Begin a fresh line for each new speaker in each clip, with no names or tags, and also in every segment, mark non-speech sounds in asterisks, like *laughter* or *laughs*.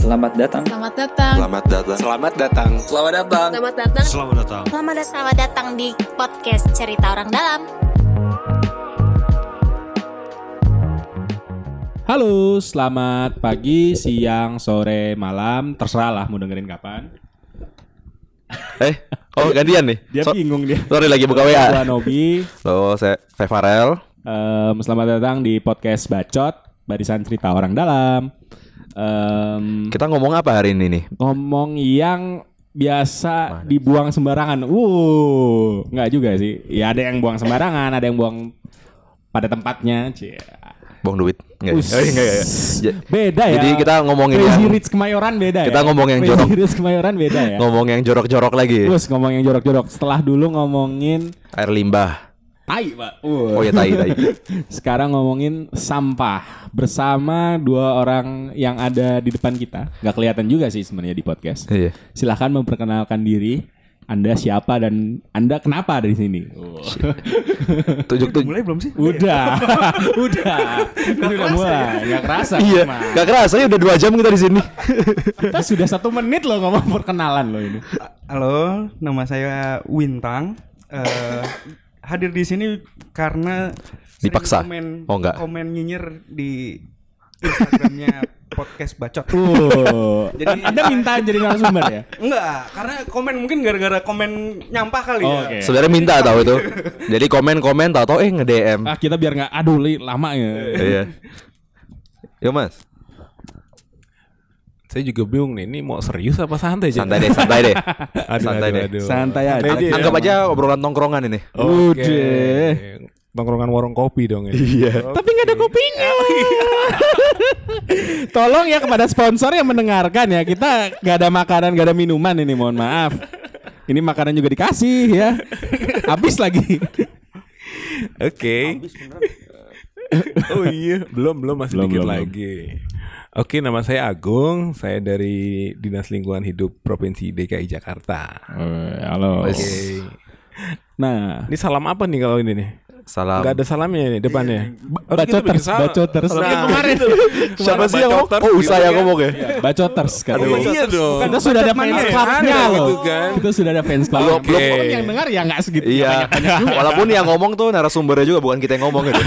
Selamat datang.
Selamat datang.
Selamat datang.
Selamat datang.
Selamat datang.
Selamat datang.
Selamat datang.
Selamat datang. Selamat datang di podcast Cerita Orang Dalam.
Halo, selamat pagi, siang, sore, malam, terserah lah mau dengerin kapan.
Eh, oh gantian nih.
Dia
So-
bingung dia.
Sorry lagi buka WA.
Gua Nobi.
Halo, saya, saya Farel.
Hmm. Em, selamat datang di podcast Bacot, barisan cerita orang dalam. Em,
Kita ngomong apa hari ini nih?
ngomong yang biasa
Mana?
dibuang sembarangan. Wuh, nggak juga sih. Ya ada yang buang sembarangan, ada yang buang pada tempatnya. Cie.
Buang duit. Enggak.
Us.
Eh, enggak, enggak. Ja-
Beda ya.
Jadi kita ngomongin
Crazy
yang-
Rich Kemayoran beda ya.
Kita ngomong yang
Crazy
jorok.
Rich Kemayoran beda ya.
Ngomong yang jorok-jorok lagi.
Terus ngomong yang jorok-jorok. Setelah dulu ngomongin
Air limbah.
tai, Pak. Wuh.
Oh ya tai
*laughs*
tai.
Sekarang ngomongin sampah bersama dua orang yang ada di depan kita. Gak kelihatan juga sih sebenarnya di podcast.
Iya.
Silahkan memperkenalkan diri. Anda siapa dan Anda kenapa ada di sini?
Tunjuk tunjuk.
Mulai belum sih?
*laughs* Udah, *laughs* udah, Ini udah mulai. Gak kerasa.
Iya.
Mas.
Gak kerasa ya udah dua jam kita di sini.
Kita sudah satu menit loh ngomong perkenalan loh ini.
Halo, nama saya Wintang. Eh, hadir di sini karena sering
Dipaksa?
Komen,
Oh, enggak.
Komen nyinyir di Instagramnya *laughs* podcast bacot.
Uh.
Oh.
Tuh.
Jadi-
Anda minta jadi narasumber
*laughs*
ya?
Enggak, karena komen mungkin gara-gara komen nyampah kali
Oh,
ya.
oke.
Sebenarnya minta tahu itu. Jadi komen-komen tahu-tahu eh nge-DM.
Ah, kita biar nggak aduh li, lama ya.
Iya. Yo Mas,
Saya juga bingung nih, ini mau serius apa santai? Jan?
santai deh, santai
*laughs*
deh.
*laughs* Aduh,
santai
aduh,
deh.
aduh.
Santai aja.
Santai deh.
Anggap aja obrolan tongkrongan ini.
Oke.
Udah.
Tongkrongan warung kopi dong ini. Iya.
Tapi nggak ada kopinya. *laughs* Tolong ya kepada sponsor yang mendengarkan ya. Kita nggak ada makanan, nggak ada minuman ini. Mohon maaf. Ini makanan juga dikasih ya. Habis lagi.
Oke. *laughs* oh iya, belum belum masih
Belum,
dikit
belum, belum.
lagi. Oke, nama saya Agung. Saya dari Dinas Lingkungan Hidup Provinsi DKI Jakarta.
Halo.
Oke.
Nah,
Ini salam apa nih kalau ini nih?
Salam.
Nggak ada salamnya ini depannya. Harus kita
bacoters,
bikin salam.
bacoters.
Salam
Kayak
gitu.
kemarin.
Siapa sih yang ngomong?
Bacoters
Oh,
gitu
saya
kan.
ngomong ya.
bacoters kan.
Aduh, iya dong.
Kita sudah ada fans
mana ya?
clubnya loh.
Ada gitu kan.
Kita sudah ada fans club.
Belum- belum-
Orang yang dengar ya nggak segitu.
Iya. Walaupun yang ngomong tuh narasumbernya juga bukan kita yang ngomong
*laughs*
gitu.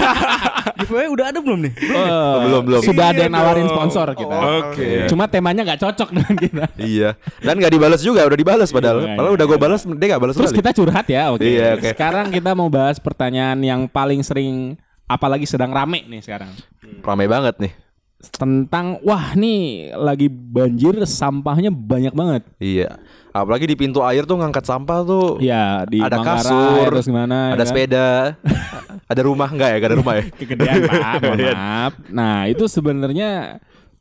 Giveaway udah ada belum nih?
Eh,
Belum, belum.
Sudah ada
Iya
yang nawarin
dong.
sponsor kita.
Oke.
Cuma temanya nggak cocok dengan kita.
iya. Dan gak dibales juga, udah dibales padahal.
Iya,
padahal
iya,
udah gue balas, dia gak balas
Terus
balik.
kita curhat ya, oke.
Iya, oke.
Sekarang kita mau bahas pertanyaan yang paling sering apalagi sedang rame nih sekarang.
Ramai banget nih.
Tentang wah nih lagi banjir sampahnya banyak banget.
Iya. Apalagi di pintu air tuh ngangkat sampah tuh.
Ya di
ada
Manggarai,
kasur,
terus gimana ya
ada
kan? *laughs*
sepeda, ada rumah enggak ya? Gak ada rumah ya? Iya.
kegedean
*laughs*
*laughs* Pak, mohon maaf. Nah, itu sebenarnya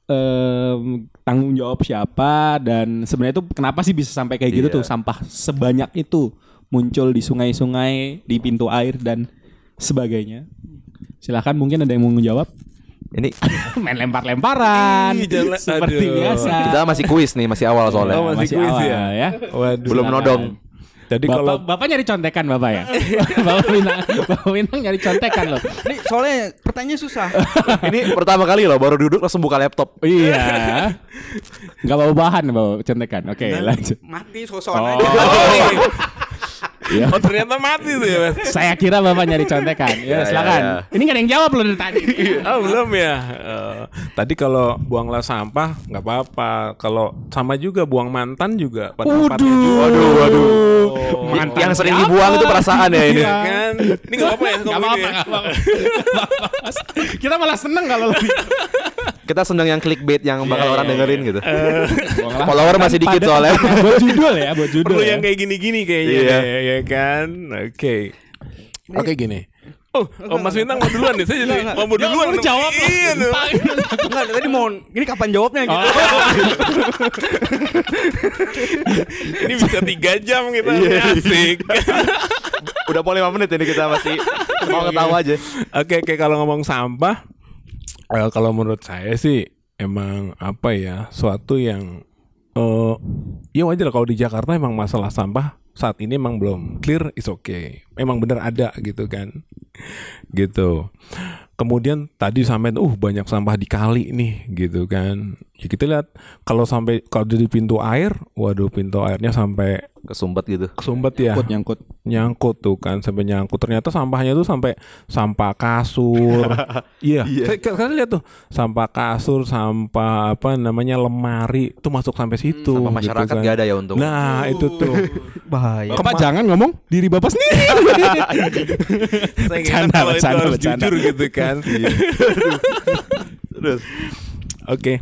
em, tanggung jawab siapa dan sebenarnya itu kenapa sih bisa sampai kayak gitu
Iya.
tuh sampah sebanyak itu muncul di sungai-sungai, di pintu air dan sebagainya. Silahkan mungkin ada yang mau menjawab.
Ini
Main lempar-lemparan
Ih, jangan-
seperti
Iya, aduh.
biasa.
kita masih kuis nih, masih awal
Ya,
soalnya.
Oh, masih kuis ya? Waduh.
Belum
silakan.
nodong.
Jadi
bapak,
kalau
bapak nyari contekan bapak
*laughs*
ya. bapak bintang, bapak bintang nyari contekan loh.
Ini soalnya pertanyaan
*laughs*
susah.
Ini pertama kali loh baru duduk langsung buka laptop.
Iya. Gak bawa bahan bawa contekan. Oke,
Nah.
lanjut.
Mati
Oh,
sosok aja.
Iya.
Oh ternyata mati tuh ya mas
Saya kira bapak nyari contekan. Ya,
Ya,
silakan.
ya,
Ini gak ada yang jawab loh dari tadi.
Iya.
Oh belum ya Eh, Tadi kalau buanglah sampah nggak apa-apa Kalau sama juga buang mantan juga pada tempatnya juga.
Waduh, waduh.
Mantan
Yang sering
Oh, siapa?
dibuang itu perasaan ya ini.
Iya kan Ini nggak apa-apa ya
Gak
ngomongin
apa-apa,
ya?
gak apa-apa. Gak apa-apa. Kita malah seneng kalau lebih.
Kita seneng yang clickbait yang bakal orang dengerin gitu.
Buanglah
*laughs* Follower masih dikit
pada *laughs*
soalnya.
tempatnya.
*laughs*
buat judul ya, buat judul.
Perlu
ya.
yang kayak gini-gini kayaknya
Iya.
ya, ya kan Oke Oke gini Oh, oh, Mas Bintang mau duluan deh, saya jadi
Nggak,
mau duluan.
Lu
dong.
jawab loh.
Iya dong.
Enggak, tadi mau ini kapan jawabnya gitu.
Oh.
Ini bisa tiga jam
Iya,
kita asik.
*laughs* Udah mau 5 menit ini kita masih Iya. mau ketawa aja.
Oke, oke kalau ngomong sampah, eh, kalau menurut saya sih emang apa ya suatu yang eh ya wajar kalau di Jakarta emang masalah sampah saat ini emang belum clear is okay. Emang bener ada gitu kan, gitu. Kemudian tadi sampai uh banyak sampah di kali nih gitu kan. ya kita lihat kalau sampai kalau di pintu air waduh pintu airnya sampai
Kesumbat gitu.
kesumbat ya
Nyangkut nyangkut.
nyangkut tuh kan sampai nyangkut ternyata sampahnya tuh sampai sampah kasur iya saya kalian lihat tuh sampah kasur sampah apa namanya lemari tuh masuk sampai situ
Sama
gitu
masyarakat
kan.
nggak ada ya untuk.
nah itu tuh
bahaya
Bapak jangan ngomong diri bapak sendiri. *laughs*
Saya ingat
Bercanda,
kalau itu
bercanda,
harus
bercanda.
jujur gitu
*laughs*
kan.
Iya.
Terus.
Oke.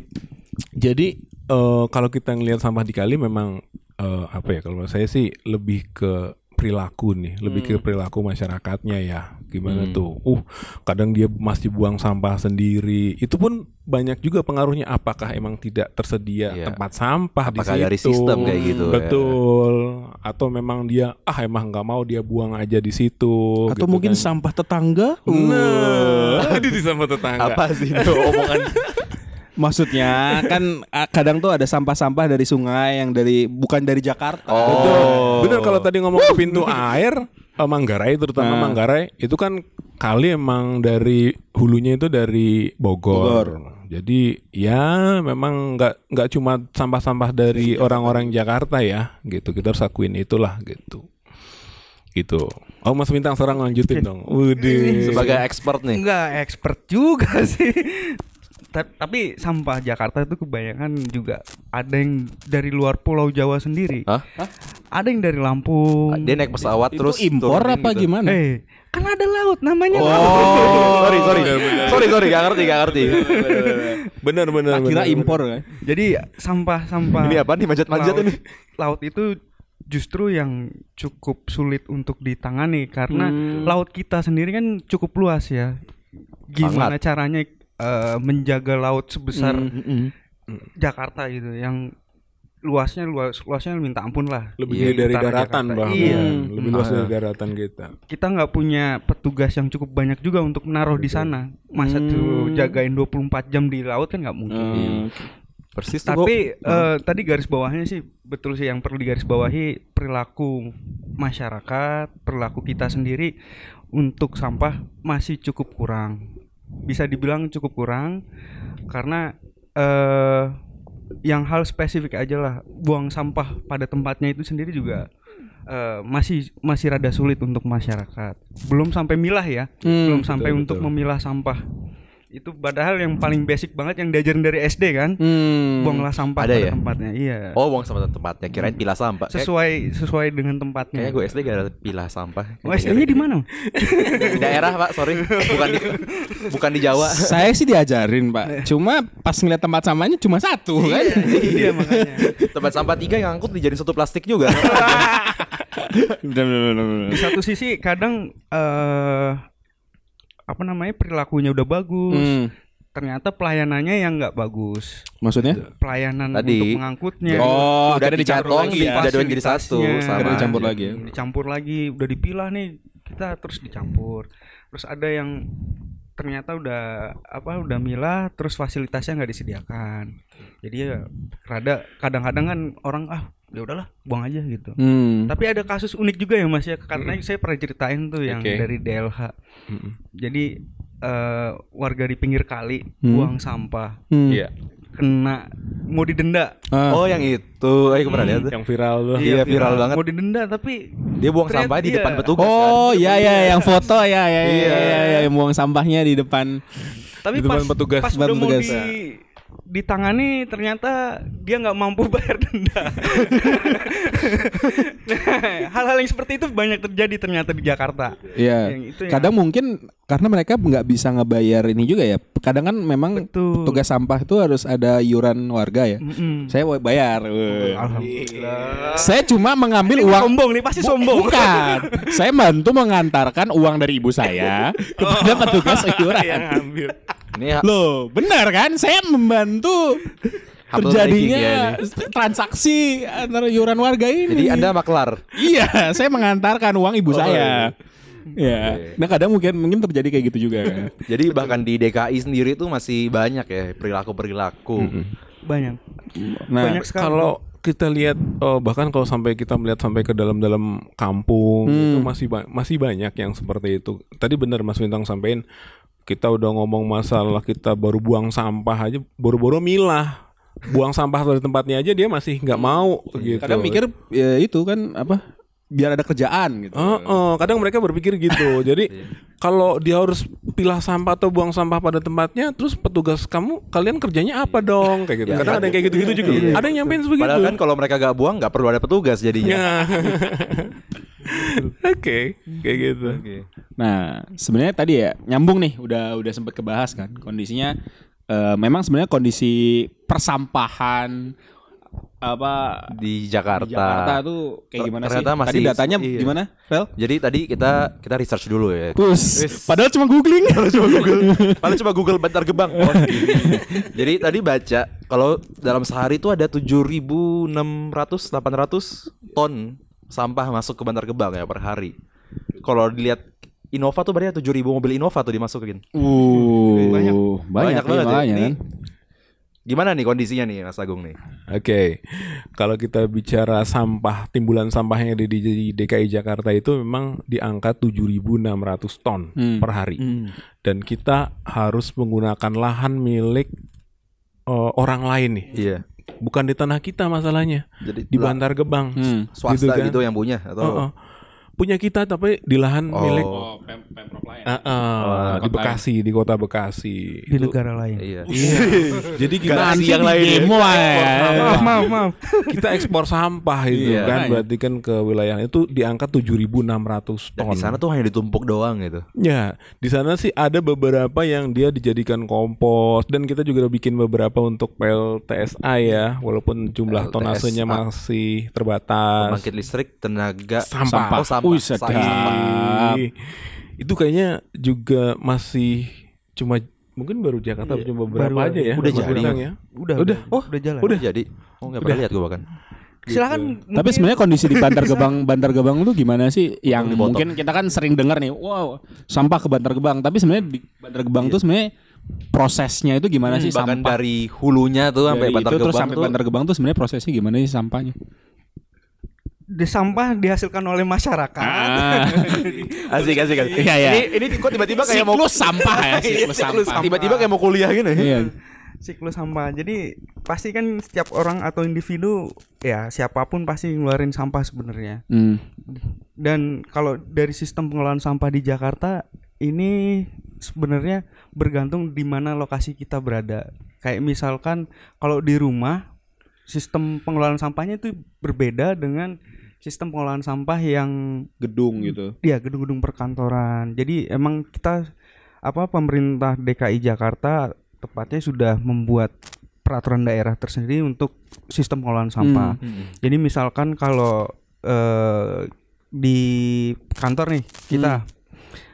Jadi eh, kalau kita ngelihat sampah di kali memang eh, apa ya kalau menurut saya sih lebih ke perilaku nih, lebih
Hmm.
ke perilaku masyarakatnya ya. Gimana tuh? Uh, kadang dia masih buang sampah sendiri. Itu pun banyak juga pengaruhnya apakah emang tidak tersedia
Iya.
tempat sampah di
Apakah dari
situ?
sistem kayak gitu ya?
Betul. Atau memang dia ah emang nggak mau dia buang aja di situ
Atau
gitu
mungkin
kan.
sampah tetangga.
Nah, itu *laughs* di sampah tetangga.
Uh. Apa *laughs* sih itu omongan?
Maksudnya kan ah, kadang tuh ada sampah-sampah dari sungai yang dari bukan dari Jakarta.
Oh.
Bener kalau tadi ngomong ke pintu air eh, Manggarai terutama
Nah.
Manggarai itu kan kali emang dari hulunya itu dari Bogor.
Bogor.
Jadi ya memang nggak nggak cuma sampah-sampah dari orang-orang Jakarta ya gitu. Kita harus akuin itulah gitu. Gitu. Oh Mas Bintang sekarang lanjutin dong. Udah.
Sebagai expert nih.
Enggak expert juga *laughs* sih. Ta- Tapi sampah Jakarta itu kebanyakan juga ada yang dari luar Pulau Jawa sendiri.
Hah? Ah,
Ada yang dari Lampung.
Dia naik pesawat terus
Terus impor
turunin
apa
gitu.
gimana?
Eh, kan ada laut namanya. laut. *laughs*
Oh, *laughs* sorry sorry. Sorry sorry, gak ngerti, gak ngerti.
Bener bener.
Tak kira
bener,
impor kan.
Jadi sampah-sampah.
Ini apa nih, manjat-manjat
laut-
ini?
Laut itu justru yang cukup sulit untuk ditangani karena laut kita sendiri kan cukup luas ya. Gimana caranya eh, menjaga laut sebesar Jakarta gitu yang luasnya luas luasnya minta ampun lah Iya,
Lebih
Di
gede dari
utara
daratan
Jakarta.
bahkan.
iya Hmm.
Lebih luas dari daratan kita.
kita nggak punya petugas yang cukup banyak juga untuk menaruh di sana masa tuh jagain 24 jam di laut kan nggak mungkin
Hmm. Persis tuh,
tapi eh, tadi garis bawahnya sih betul sih yang perlu digarisbawahi perilaku masyarakat perilaku kita sendiri untuk sampah masih cukup kurang bisa dibilang cukup kurang karena eh yang hal spesifik aja lah buang sampah pada tempatnya itu sendiri juga eh, masih masih rada sulit untuk masyarakat belum sampai milah ya belum sampai untuk memilah sampah itu padahal yang paling basic banget yang diajarin dari SD kan
Hmm.
buanglah
Hmm,
sampah
Ada
pada
ya?
tempatnya iya
gua- Oh, uang sama tempatnya. Kirain pilah sampah. Kayak-
sesuai sesuai dengan
Kayaknya
tempatnya
gue SD gak ada pilah sampah.
Oh, SD-nya di mana
Di daerah, Pak, sorry. Bukan di bukan di Jawa.
Saya sih diajarin pak. Cuma pas ngeliat tempat samanya cuma satu kan.
iya makanya
Tempat sampah tiga yang ngangkut dijadiin satu plastik juga.
Bener, bener, bener, bener.
di satu sisi kadang eh apa namanya perilakunya udah bagus
Hmm,
ternyata pelayanannya yang nggak bagus
Maksudnya?
pelayanan
Eh, Tadi.
untuk mengangkutnya
Oh,
udah
akhirnya dicampur
dicatong,
lagi
di-
ya.
dipaduin jadi satu.
Fasilitasnya.
Sama.
Akhirnya dicampur lagi
iya.
ya.
Iya, dicampur lagi udah dipilah nih kita terus dicampur terus ada yang ternyata udah apa udah milah terus fasilitasnya nggak disediakan jadi ya rada kadang-kadang kan orang ah ya udahlah buang aja gitu
Hmm.
tapi ada kasus unik juga ya mas ya karena saya pernah ceritain tuh yang
Oke.
dari DLH jadi eh, warga di pinggir kali
Hmm.
buang sampah
Hmm.
Iya.
kena mau didenda
Ah.
Oh, yang itu. Eh, gue pernah
Hmm.
lihat. tuh.
Yang viral tuh.
Iya, viral banget.
mau didenda tapi
Dia buang
Ternyata-
sampah di
iya.
depan petugas kan.
Oh ya ya yang foto ya ya ya,
Iya.
ya, ya, ya, yang buang sampahnya di depan.
tapi
Di depan
pas
petugas.
pas
Depan
udah mau
petugas. ya.
di ditangani ternyata dia nggak mampu *laughs* bayar
*laughs*
denda. Nah, Hal-hal yang seperti itu banyak terjadi ternyata di Jakarta.
Iya.
Yang itu ya. yang-
Kadang mungkin karena mereka nggak bisa ngebayar ini juga ya. Kadang kan memang
Betul.
tugas sampah itu harus ada iuran warga ya.
Mm-mm. Oh,
Saya wa- bayar. Weh.
Alhamdulillah.
Saya cuma mengambil uang
Sombong nih pasti
Iya.
sombong. *laughs*
Bukan. saya bantu mengantarkan uang dari ibu saya
Oh.
kepada petugas
Iya,
iuran.
Ambil.
Ini ha-
Loh, benar kan? Saya membantu
Humble
terjadinya
bragging
transaksi antara iuran warga ini.
jadi Anda maklar.
Iya, saya mengantarkan uang
Oh,
ibu saya. Iya. Nah, kadang mungkin mungkin terjadi kayak gitu juga kan.
Jadi bahkan di DKI sendiri tuh masih banyak ya perilaku-perilaku.
Hmm.
Banyak.
Nah,
Banyak sekali.
Kalau kita lihat eh, bahkan kalau sampai kita melihat sampai ke dalam-dalam kampung itu masih ba- masih banyak yang seperti itu. Tadi benar Mas Bintang sampein kita udah ngomong masalah kita baru buang sampah aja baru-baru milah. buang sampah dari tempatnya aja dia masih nggak mau gitu.
Kadang mikir ya itu kan apa biar ada kerjaan gitu.
Heeh, kadang mereka berpikir gitu. Jadi kalau dia harus pilah sampah atau buang sampah pada tempatnya, terus petugas kamu kalian kerjanya apa dong kayak gitu. Kadang ada yang kayak gitu-gitu juga. loh. Ada yang nyampein sebegitu.
Padahal kan kalau mereka gak buang gak perlu ada petugas jadinya.
Iya.
*laughs* Ya. Oke, kayak gitu.
Nah, sebenarnya tadi ya nyambung nih, udah udah sempat kebahas kan kondisinya. eh, memang sebenarnya kondisi persampahan apa
Di
di
Jakarta.
Jakarta tuh kayak
Ter-
gimana
ternyata
sih?
masih-
tadi datanya
iya.
gimana, Rel?
Jadi tadi kita kita research dulu ya.
Pus. Padahal cuma googling.
Coba Google. Paling coba Google bentar gebang. Oh, segini. *laughs* Jadi tadi baca kalau dalam sehari itu ada 7.600 800 ton sampah masuk ke Bantar Gebang ya per hari. Kalau dilihat Innova tuh berarti ada 7.000 mobil Innova tuh dimasukin.
Uh,
Banyak.
banyak, banyak,
banget ya.
banyak
Ini
kan?
Gimana nih kondisinya nih Mas Agung nih?
Oke, kalau kita bicara sampah, timbulan sampah yang ada di, di DKI Jakarta itu memang di angka 7.600 ton
Hmm.
per hari. Dan kita harus menggunakan lahan milik eh, orang lain nih.
Iya.
Bukan di tanah kita masalahnya,
Jadi
di
lah,
Bantar Gebang.
Hmm.
swasta gitu,
kan.
yang punya
Heeh.
atau
Punya kita tapi di lahan
Oh.
milik
Oh,
Ah, ah, di
kota.
Bekasi, di kota Bekasi.
di negara lain.
iya.
*laughs* Jadi
Nah,
gimana
Garasi yang lain ya.
Demo ya.
Maaf, maaf, maaf.
kita ekspor sampah itu
Iya.
kan
Makanya.
berarti kan ke wilayah itu di angka 7.600
Dan
ton.
di sana tuh hanya ditumpuk doang gitu.
Ya, di sana sih ada beberapa yang dia dijadikan kompos dan kita juga udah bikin beberapa untuk PLTSA ya, walaupun jumlah
PLTSA.
tonasenya masih terbatas.
Bangkit listrik tenaga
Sampah.
Oh, sampah.
Wih, sedap.
Sampah.
Ih, Itu kayaknya juga masih cuma mungkin baru Jakarta cuma beberapa
baru-
aja ya.
Iya. udah
Baru
jadi.
datang ya.
Udah,
Udah.
Oh, udah jalan.
Udah jadi. Oh, nggak pernah lihat gua bahkan.
Silakan.
Tapi
mungkin-
sebenarnya kondisi di Bantar Gebang Bantar Gebang tuh gimana sih yang
dipotong.
mungkin kita kan sering dengar nih, wow, sampah ke Bantar Gebang. Tapi sebenarnya di Bantar Gebang tuh sebenarnya prosesnya itu gimana sih
Hmm, bahkan
sampah?
dari hulunya tuh sampai
Dari
Bantar
itu terus
Gebang
sampai
tuh
Bantar Gebang tuh sebenarnya prosesnya gimana sih sampahnya?
Di sampah dihasilkan oleh masyarakat.
Ah. *laughs*
asik asik asik.
Iya, iya.
Ini ini kok tiba-tiba kayak mau *laughs*
Siklus sampah *laughs* ya, siklus
Siklus
sampah.
tiba-tiba kayak mau kuliah gitu. gini.
Iya.
*laughs* siklus sampah. Jadi pasti kan setiap orang atau individu ya siapapun pasti ngeluarin sampah sebenarnya.
Hmm.
Dan kalau dari sistem pengelolaan sampah di Jakarta ini sebenarnya bergantung di mana lokasi kita berada. Kayak misalkan kalau di rumah sistem pengelolaan sampahnya itu berbeda dengan sistem pengelolaan sampah yang
Gedung gitu.
ya gedung-gedung perkantoran. Jadi emang kita apa pemerintah DKI Jakarta tepatnya sudah membuat peraturan daerah tersendiri untuk sistem pengelolaan sampah. Jadi misalkan kalau eh, di kantor nih kita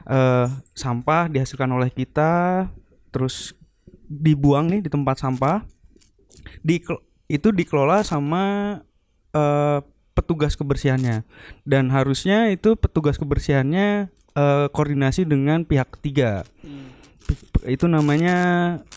eh, sampah dihasilkan oleh kita terus dibuang nih di tempat sampah. Di itu dikelola sama eh, petugas kebersihannya dan harusnya itu petugas kebersihannya eh, koordinasi dengan pihak ketiga P- itu namanya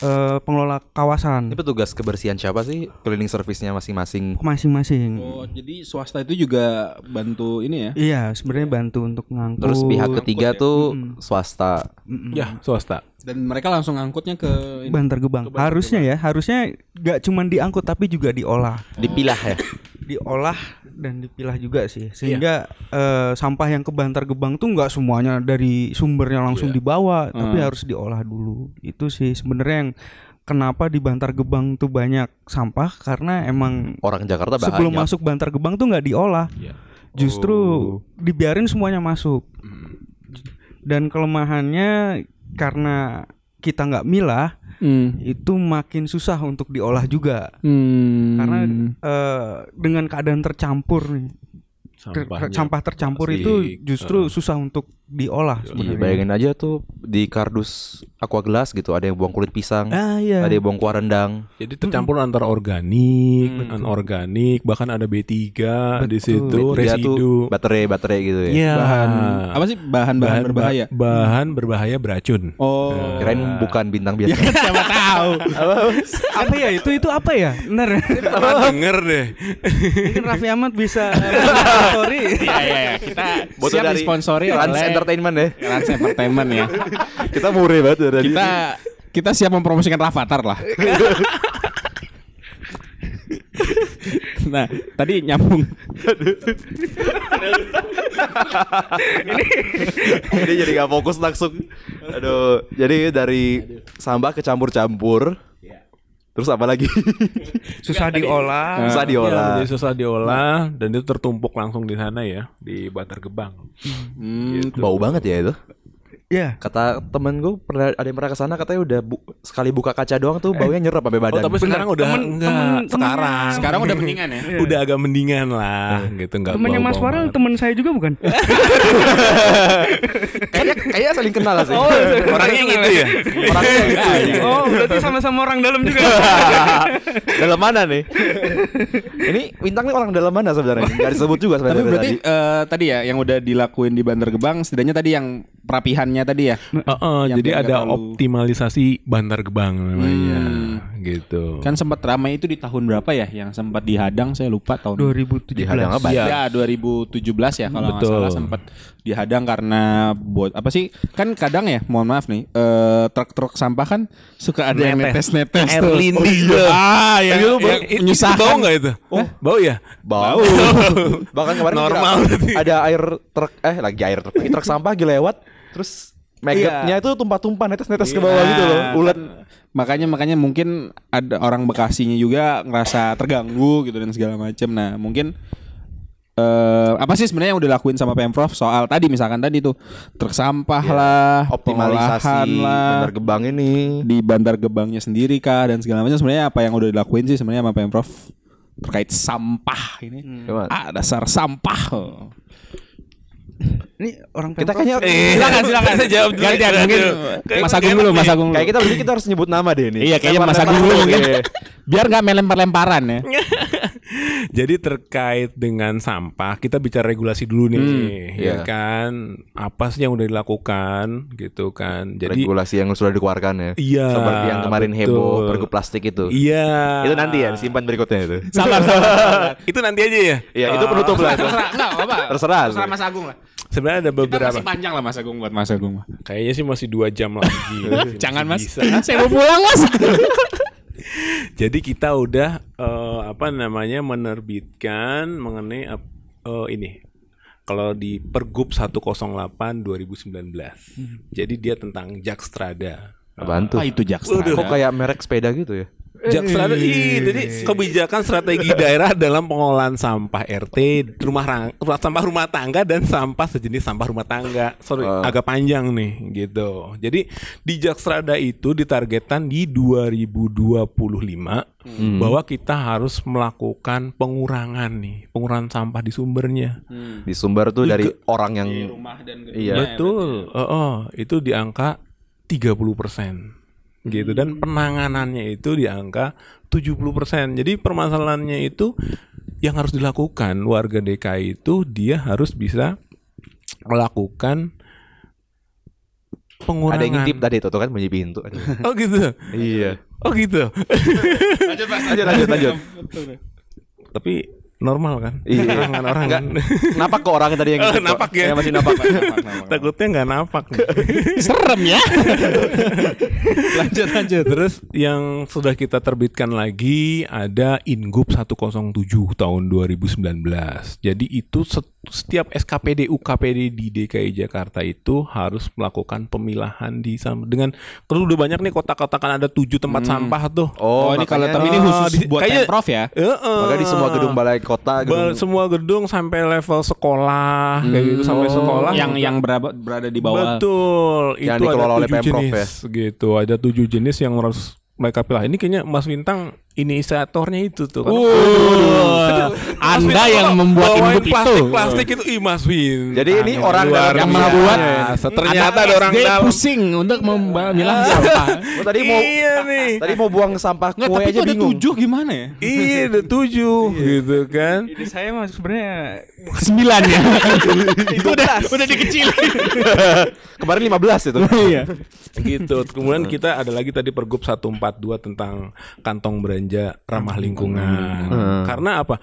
eh, pengelola
Ini
kawasan
petugas kebersihan siapa sih? Cleaning service-nya masing-masing.
masing-masing
Oh, jadi swasta itu juga bantu ini ya.
iya sebenarnya bantu untuk ngangkut
Oh,
Terus pihak ketiga tuh
Hmm.
Mm-mm.
swasta.
Mm-mm.
Ya, swasta.
Dan mereka langsung angkutnya ke ini.
Bantar Gebang harusnya ya harusnya nggak cuman diangkut tapi juga diolah
Dipilah ya.
diolah dan dipilah juga sih sehingga eh, sampah yang ke Bantar Gebang tuh nggak semuanya dari sumbernya langsung dibawa tapi harus diolah dulu itu sih sebenarnya yang kenapa di Bantar Gebang tuh banyak sampah karena emang
Orang Jakarta banyak.
sebelum masuk Bantar Gebang tuh nggak diolah
Iya.
justru dibiarin semuanya masuk dan kelemahannya karena kita nggak milah
Hmm.
itu makin susah untuk diolah juga
Hmm.
karena eh, dengan keadaan tercampur nih ke-
Sampahnya.
sampah tercampur
Plastik,
itu justru susah untuk diolah
Iya,
sebenarnya
bayangin aja tuh di kardus aqua gelas gitu ada yang buang kulit pisang,
ah iya
ada yang buang kuah rendang.
Jadi tercampur antara organik, anorganik, bahkan ada B3 di situ,
B3
residu.
tuh baterai-baterai gitu ya.
Iya.
bahan apa sih bahan-bahan
ba-
berbahaya?
Bahan berbahaya beracun.
Oh.
Kirain bukan bintang biasa. *laughs*
siapa tahu.
apa ya itu itu apa ya *laughs* benar
*laughs* denger deh.
mungkin Raffi Ahmad *laughs* bisa sorry
Iya iya ya. kita
Botol
siap
dari
disponsori
Rans
oleh
Entertainment ya.
Rans Entertainment ya.
*laughs* Kita murah banget dari
Kita kita siap mempromosikan Rafathar lah. *laughs* nah, tadi nyambung.
*laughs* Dia jadi nggak fokus langsung. Aduh, jadi dari sampah kecampur-campur. Terus apa lagi?
susah
*laughs*
diolah
Susah diolah.
Iya, Jadi susah diolah dan itu tertumpuk langsung di sana ya di Bantar Gebang.
Hmm,
Bau banget ya itu.
ya
Kata temen gue pernah ada yang pernah kesana katanya udah bu- sekali buka kaca doang tuh baunya nyerap sampai badan.
Oh, tapi sekarang udah enggak.
Nah,
sekarang
sekarang udah mendingan ya.
udah agak mendingan lah
Eh.
gitu enggak
temennya Mas Farel teman saya juga
*laughs*
bukan
Iya,
kayaknya *laughs* kayaknya saling kenal lah sih.
iya. *laughs*
orangnya gitu ya.
Orangnya gitu.
oh berarti sama-sama orang dalam juga ya? *laughs*
dalam mana nih? Ini bintang nih orang dalam mana sebenarnya? Gak disebut juga
Tapi
sebenarnya dari
berarti
tadi.
eh, tadi ya yang udah dilakuin di Bandar Gebang setidaknya tadi yang perapihannya tadi ya.
Heeh,
Yang
jadi
nggak
ada
terlalu-
optimalisasi Bantar Gebang namanya gitu.
Kan sempat ramai itu di tahun berapa ya yang sempat dihadang saya lupa tahun
2017
Dihadang apa?
Iya.
Ya 2017 ya kalau nggak
Betul.
salah sempat dihadang karena buat apa sih kan kadang ya mohon maaf nih eh, truk-truk sampah kan suka ada yang netes-netes tuh. Ah ya,
Tapi lu bau-
yang
itu- itu
menyusahkan.
bau enggak itu? Oh, bau ya?
Bau. Bahkan kemarin kira
Normal berarti.
ada air truk eh lagi air truk, lagi truk sampah lagi lewat terus megatnya itu tumpah-tumpah netes-netes ke bawah
Nah,
gitu loh. Ulet.
Makanya makanya mungkin ada orang Bekasinya juga ngerasa terganggu gitu dan segala macam. Nah, mungkin eh apa sih sebenarnya yang udah lakuin sama Pemprov soal tadi misalkan tadi tuh truk sampah lah, pengolahan
Iya. Optimalisasi
lah
benar gebang ini.
di Bandar Gebangnya sendiri kah dan segala macam sebenarnya apa yang udah dilakuin sih sebenarnya sama Pemprov terkait sampah ini.
Coba.
Ah, dasar sampah.
ini orang
Kita
Pemprov.
kayaknya
Silakan Ah, silakan.
Saya jawab dulu.
Gantian mungkin
Kayak
Mas
gua
Agung
enak
dulu,
nih.
Mas Agung.
kayak kita berarti kita harus nyebut nama deh ini.
Iya kayaknya gitu. Mas
Lempar-lempar
Agung dulu ya.
dulu,
mungkin.
iya.
Biar nggak main lempar-lemparan ya.
Jadi terkait dengan sampah, kita bicara regulasi dulu nih, ya
iya.
kan? Apa sih yang udah dilakukan, gitu kan? Jadi
Regulasi yang sudah dikeluarkan ya.
Iya,
Seperti yang kemarin
betul.
heboh pergub plastik itu.
iya,
Itu nanti ya disimpan berikutnya *laughs* itu.
Sabar, sabar. sabar.
itu nanti aja ya.
Iya, itu penutup lah. itu.
Terserah, enggak apa-apa.
Terserah.
Terserah Mas Agung lah.
Sebenarnya ada
Kita
beberapa.
masih panjang lah Mas Agung buat Mas Agung.
Kayaknya sih masih dua jam
*laughs*
lagi. Masih-
Jangan Mas.
masih bisa.
Saya mau pulang Mas.
*laughs* Jadi kita udah eh, apa namanya menerbitkan mengenai ap- eh, ini. Kalau di Pergub 108 2019.
Hmm.
Jadi dia tentang Jakstrada.
Apaan tuh?
Wah, Ah, itu Jakstrada.
Kok kayak merek sepeda gitu ya?
Jakstrada ih, jadi kebijakan strategi daerah dalam pengolahan sampah RT, rumah rang- rumah sampah rumah tangga dan sampah sejenis sampah rumah tangga. Sorry,
Ah.
agak panjang nih gitu. Jadi di Jakstrada itu ditargetkan di 2025 bahwa kita harus melakukan pengurangan nih, pengurangan sampah di sumbernya.
Hmm.
Di Sumber tuh dari orang yang
dan
Iya.
Betul. Oh, itu di angka 30%. Gitu dan penanganannya itu di angka 70%. Jadi permasalahannya itu yang harus dilakukan warga DKI itu dia harus bisa melakukan pengurangan.
ada yang ngintip tadi tuh, tuh kan bunyi pintu.
Oh gitu.
iya.
Oh gitu.
Lanjut Mas.
Lanjut lanjut lanjut.
Tapi normal kan?
Iya.
Orang-orang
Enggak.
kan?
Kenapa kok orang tadi yang
Oh,
ngintip? kok?
napak ya?
Iya, masih
*laughs*
napak.
*laughs* Takutnya nggak napak.
Serem ya. *laughs* lanjut lanjut.
*laughs* Terus yang sudah kita terbitkan lagi ada Ingup 107 tahun 2019. Jadi itu set- setiap SKPD UKPD di DKI Jakarta itu harus melakukan pemilahan di sam- dengan perlu udah banyak nih kotak-kotakan ada tujuh tempat sampah tuh.
Hmm.
Ah,
Oh, ini kalau tapi ini khusus
di-
buat
kayaknya-
Pemprov ya.
Eh, eh.
Maka di semua gedung balai kota
Ba-
gedung
semua gedung sampai level sekolah kayak gitu sampai
Oh.
sekolah
yang yang berada, berada di bawah.
Betul,
Yang
itu ada
dikelola oleh
tujuh
Pemprov ya?
jenis gitu. Ada tujuh jenis yang harus mereka pilih. Ini kayaknya Mas Bintang inisiatornya itu tuh. Kan?
Uh,
Wuh, Anda yang membuat induk itu.
plastik, plastik itu ih Mas Bintang.
Jadi ini orang dalam yang
yang membuat.
membuat.
Ternyata
Anak
ada orang
SD
dalam.
pusing untuk memilah sampah.
Oh, tadi mau
Iya nih.
tadi mau buang sampah
Enggak,
kue
tapi
aja
itu ada
bingung.
tujuh gimana ya?
Iya, ada tujuh
Iya.
gitu kan.
Ide saya mah sebenarnya
Sembilan ya. itu udah udah
*laughs*
dikecilin.
Kemarin 15 itu.
*laughs* Iya.
gitu. Kemudian kita ada lagi tadi Pergub 142 tentang kantong belanja ramah lingkungan. Karena apa?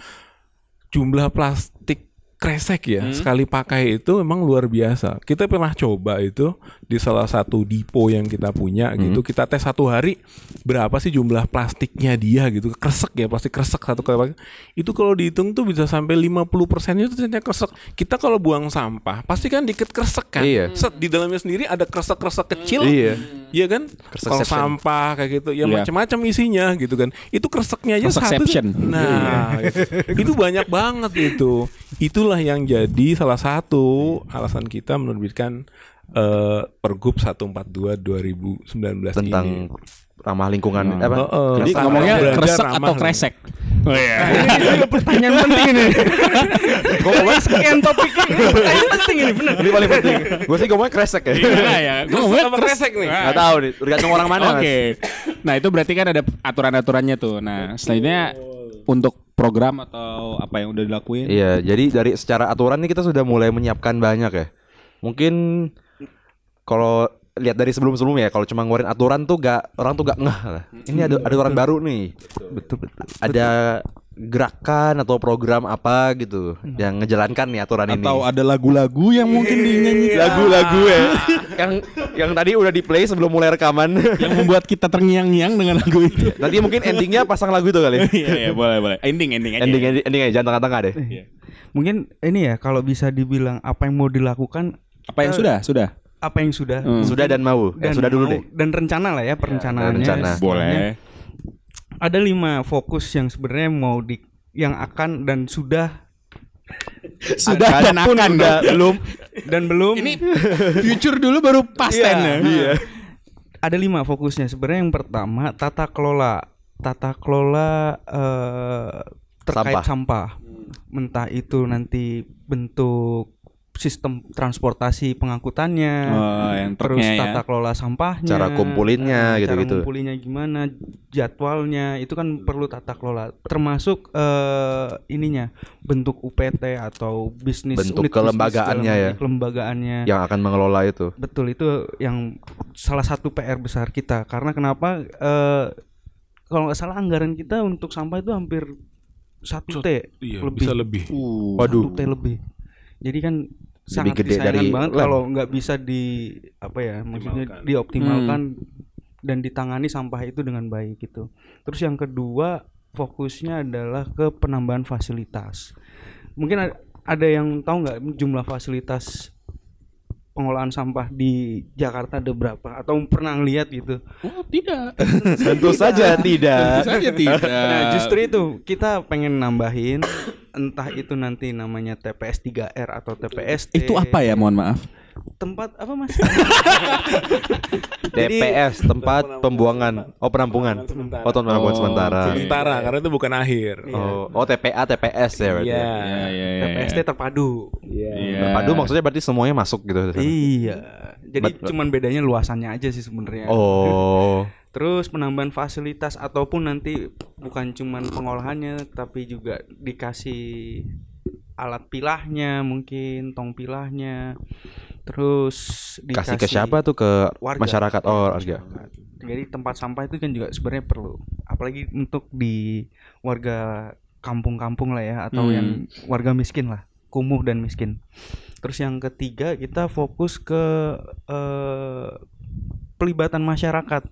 Jumlah plastik kresek ya sekali pakai itu memang luar biasa. Kita pernah coba itu di salah satu depo yang kita punya gitu kita tes satu hari berapa sih jumlah plastiknya dia gitu kresek ya plastik kresek satu kali pakai. itu kalau dihitung tuh bisa sampai 50 persennya itu ternyata kresek kita kalau buang sampah pasti kan dikit kresek kan
Iya.
set di dalamnya sendiri ada kresek kresek kecil
Iya.
Iya kan
Kresek
kalau
section.
sampah kayak gitu ya
Iya.
macam-macam isinya gitu kan itu kreseknya aja satu
Kresekception.
nah
Iya.
*laughs* itu banyak banget itu itulah yang jadi salah satu alasan kita menerbitkan eh, pergub 142 2019
tentang
ini.
ramah lingkungan apa?
Heeh.
Jadi
Kresek.
*laughs* ngomongnya
Belajar
kresek
ramah
atau
nih.
kresek? Oh iya.
pertanyaan penting ini. Ngomongnya sekian topiknya ini pertanyaan Iya, penting ini bener.
Ini paling penting. Gue sih ngomongnya kresek ya.
ya. Gua
Kresek
ngomongnya
apa
kresek.
kresek nih
Gak tahu nih, tergantung orang mana.
Oke.
Mas.
Nah, itu berarti kan ada aturan-aturannya tuh. Nah, selanjutnya untuk program atau apa yang udah dilakuin?
Iya, jadi dari secara aturan nih kita sudah mulai menyiapkan banyak ya. Mungkin kalau lihat dari sebelum-sebelumnya ya, kalau cuma ngeluarin aturan tuh gak orang tuh gak ngeh. lah. Ini ada ada aturan baru nih. Betul betul. Ada gerakan atau program apa gitu yang ngejalankan nih aturan ini.
Atau ada lagu-lagu yang mungkin dinyanyi
lagu-lagu ya. yang yang tadi udah di play sebelum mulai rekaman.
yang membuat kita terngiang-ngiang dengan lagu itu.
Nanti mungkin endingnya pasang lagu itu kali.
*laughs* Iya, iya, boleh, boleh. Ending, ending aja.
ending, ending ending aja jangan tengah-tengah deh.
Mungkin ini ya kalau bisa dibilang apa yang mau dilakukan
Apa yang sudah? Sudah.
apa yang sudah
Sudah dan mau. Ya, sudah dulu
mau-
deh.
Eh,
Iya,
dan rencana lah ya perencanaannya
rencana.
Soalnya ada lima fokus yang sebenarnya mau di yang akan dan sudah
Sudah
Ada
dan
pun
akan.
udah,
belum.
dan belum
Ini future dulu baru past tense.
Iya. Ada lima fokusnya. Sebenarnya yang pertama tata kelola, tata kelola eh, terkait
Sampah.
sampah. Mentah itu nanti bentuk sistem transportasi pengangkutannya,
Oh, yang
terus
truknya ya.
tata kelola sampahnya,
Cara kumpulinnya,
eh,
gitu-gitu.
Cara kumpulinnya gimana, jadwalnya itu kan perlu tata kelola. Termasuk eh, ininya bentuk UPT atau bisnis
Bentuk
unit bisnis dalam
kelembagaannya ya.
kelembagaannya
Yang akan mengelola itu.
gitu.
betul itu yang salah satu PR besar kita karena kenapa eh, kalau nggak salah anggaran kita untuk sampah itu hampir satu t
Iya,
lebih
bisa lebih
Waduh.
Satu t lebih jadi kan sangat
gede
disayangkan
dari
banget
lem.
kalau nggak bisa di apa ya maksudnya dioptimalkan
Hmm.
dan ditangani sampah itu dengan baik gitu terus yang kedua fokusnya adalah ke penambahan fasilitas mungkin ad- ada yang tahu nggak jumlah fasilitas pengolahan sampah di Jakarta ada berapa atau pernah lihat gitu.
Oh, tidak. Eh.
Tentu saja tidak.
Saja *laughs* tidak.
Eh,
Nah, justru itu kita pengen
*coughs*
nambahin entah itu nanti namanya TPS 3R atau TPS
itu apa ya, mohon maaf?
*laughs* Tempat apa Mas? Jadi-
TPS tempat pembuangan oh penampungan
Sementara.
oh tempat penampungan
Oh.
sementara
sementara karena itu bukan akhir
oh, oh TPA TPS ya berarti
Iya.
iya,
TPST terpadu.
Aduh maksudnya berarti semuanya masuk gitu
Iya. Jadi
Bet-
cuman bedanya luasannya aja sih sebenarnya.
oh
Terus penambahan fasilitas ataupun nanti bukan cuman pengolahannya tapi juga dikasih alat pilahnya mungkin tong pilahnya. Terus
kasih
dikasih
ke siapa tuh ke
Warga.
masyarakat oh warga
Jadi tempat sampah itu kan juga sebenarnya perlu. Apalagi untuk di warga kampung-kampung lah ya atau
Hmm.
yang warga miskin lah, kumuh dan miskin. Terus yang ketiga kita fokus ke eh, pelibatan masyarakat.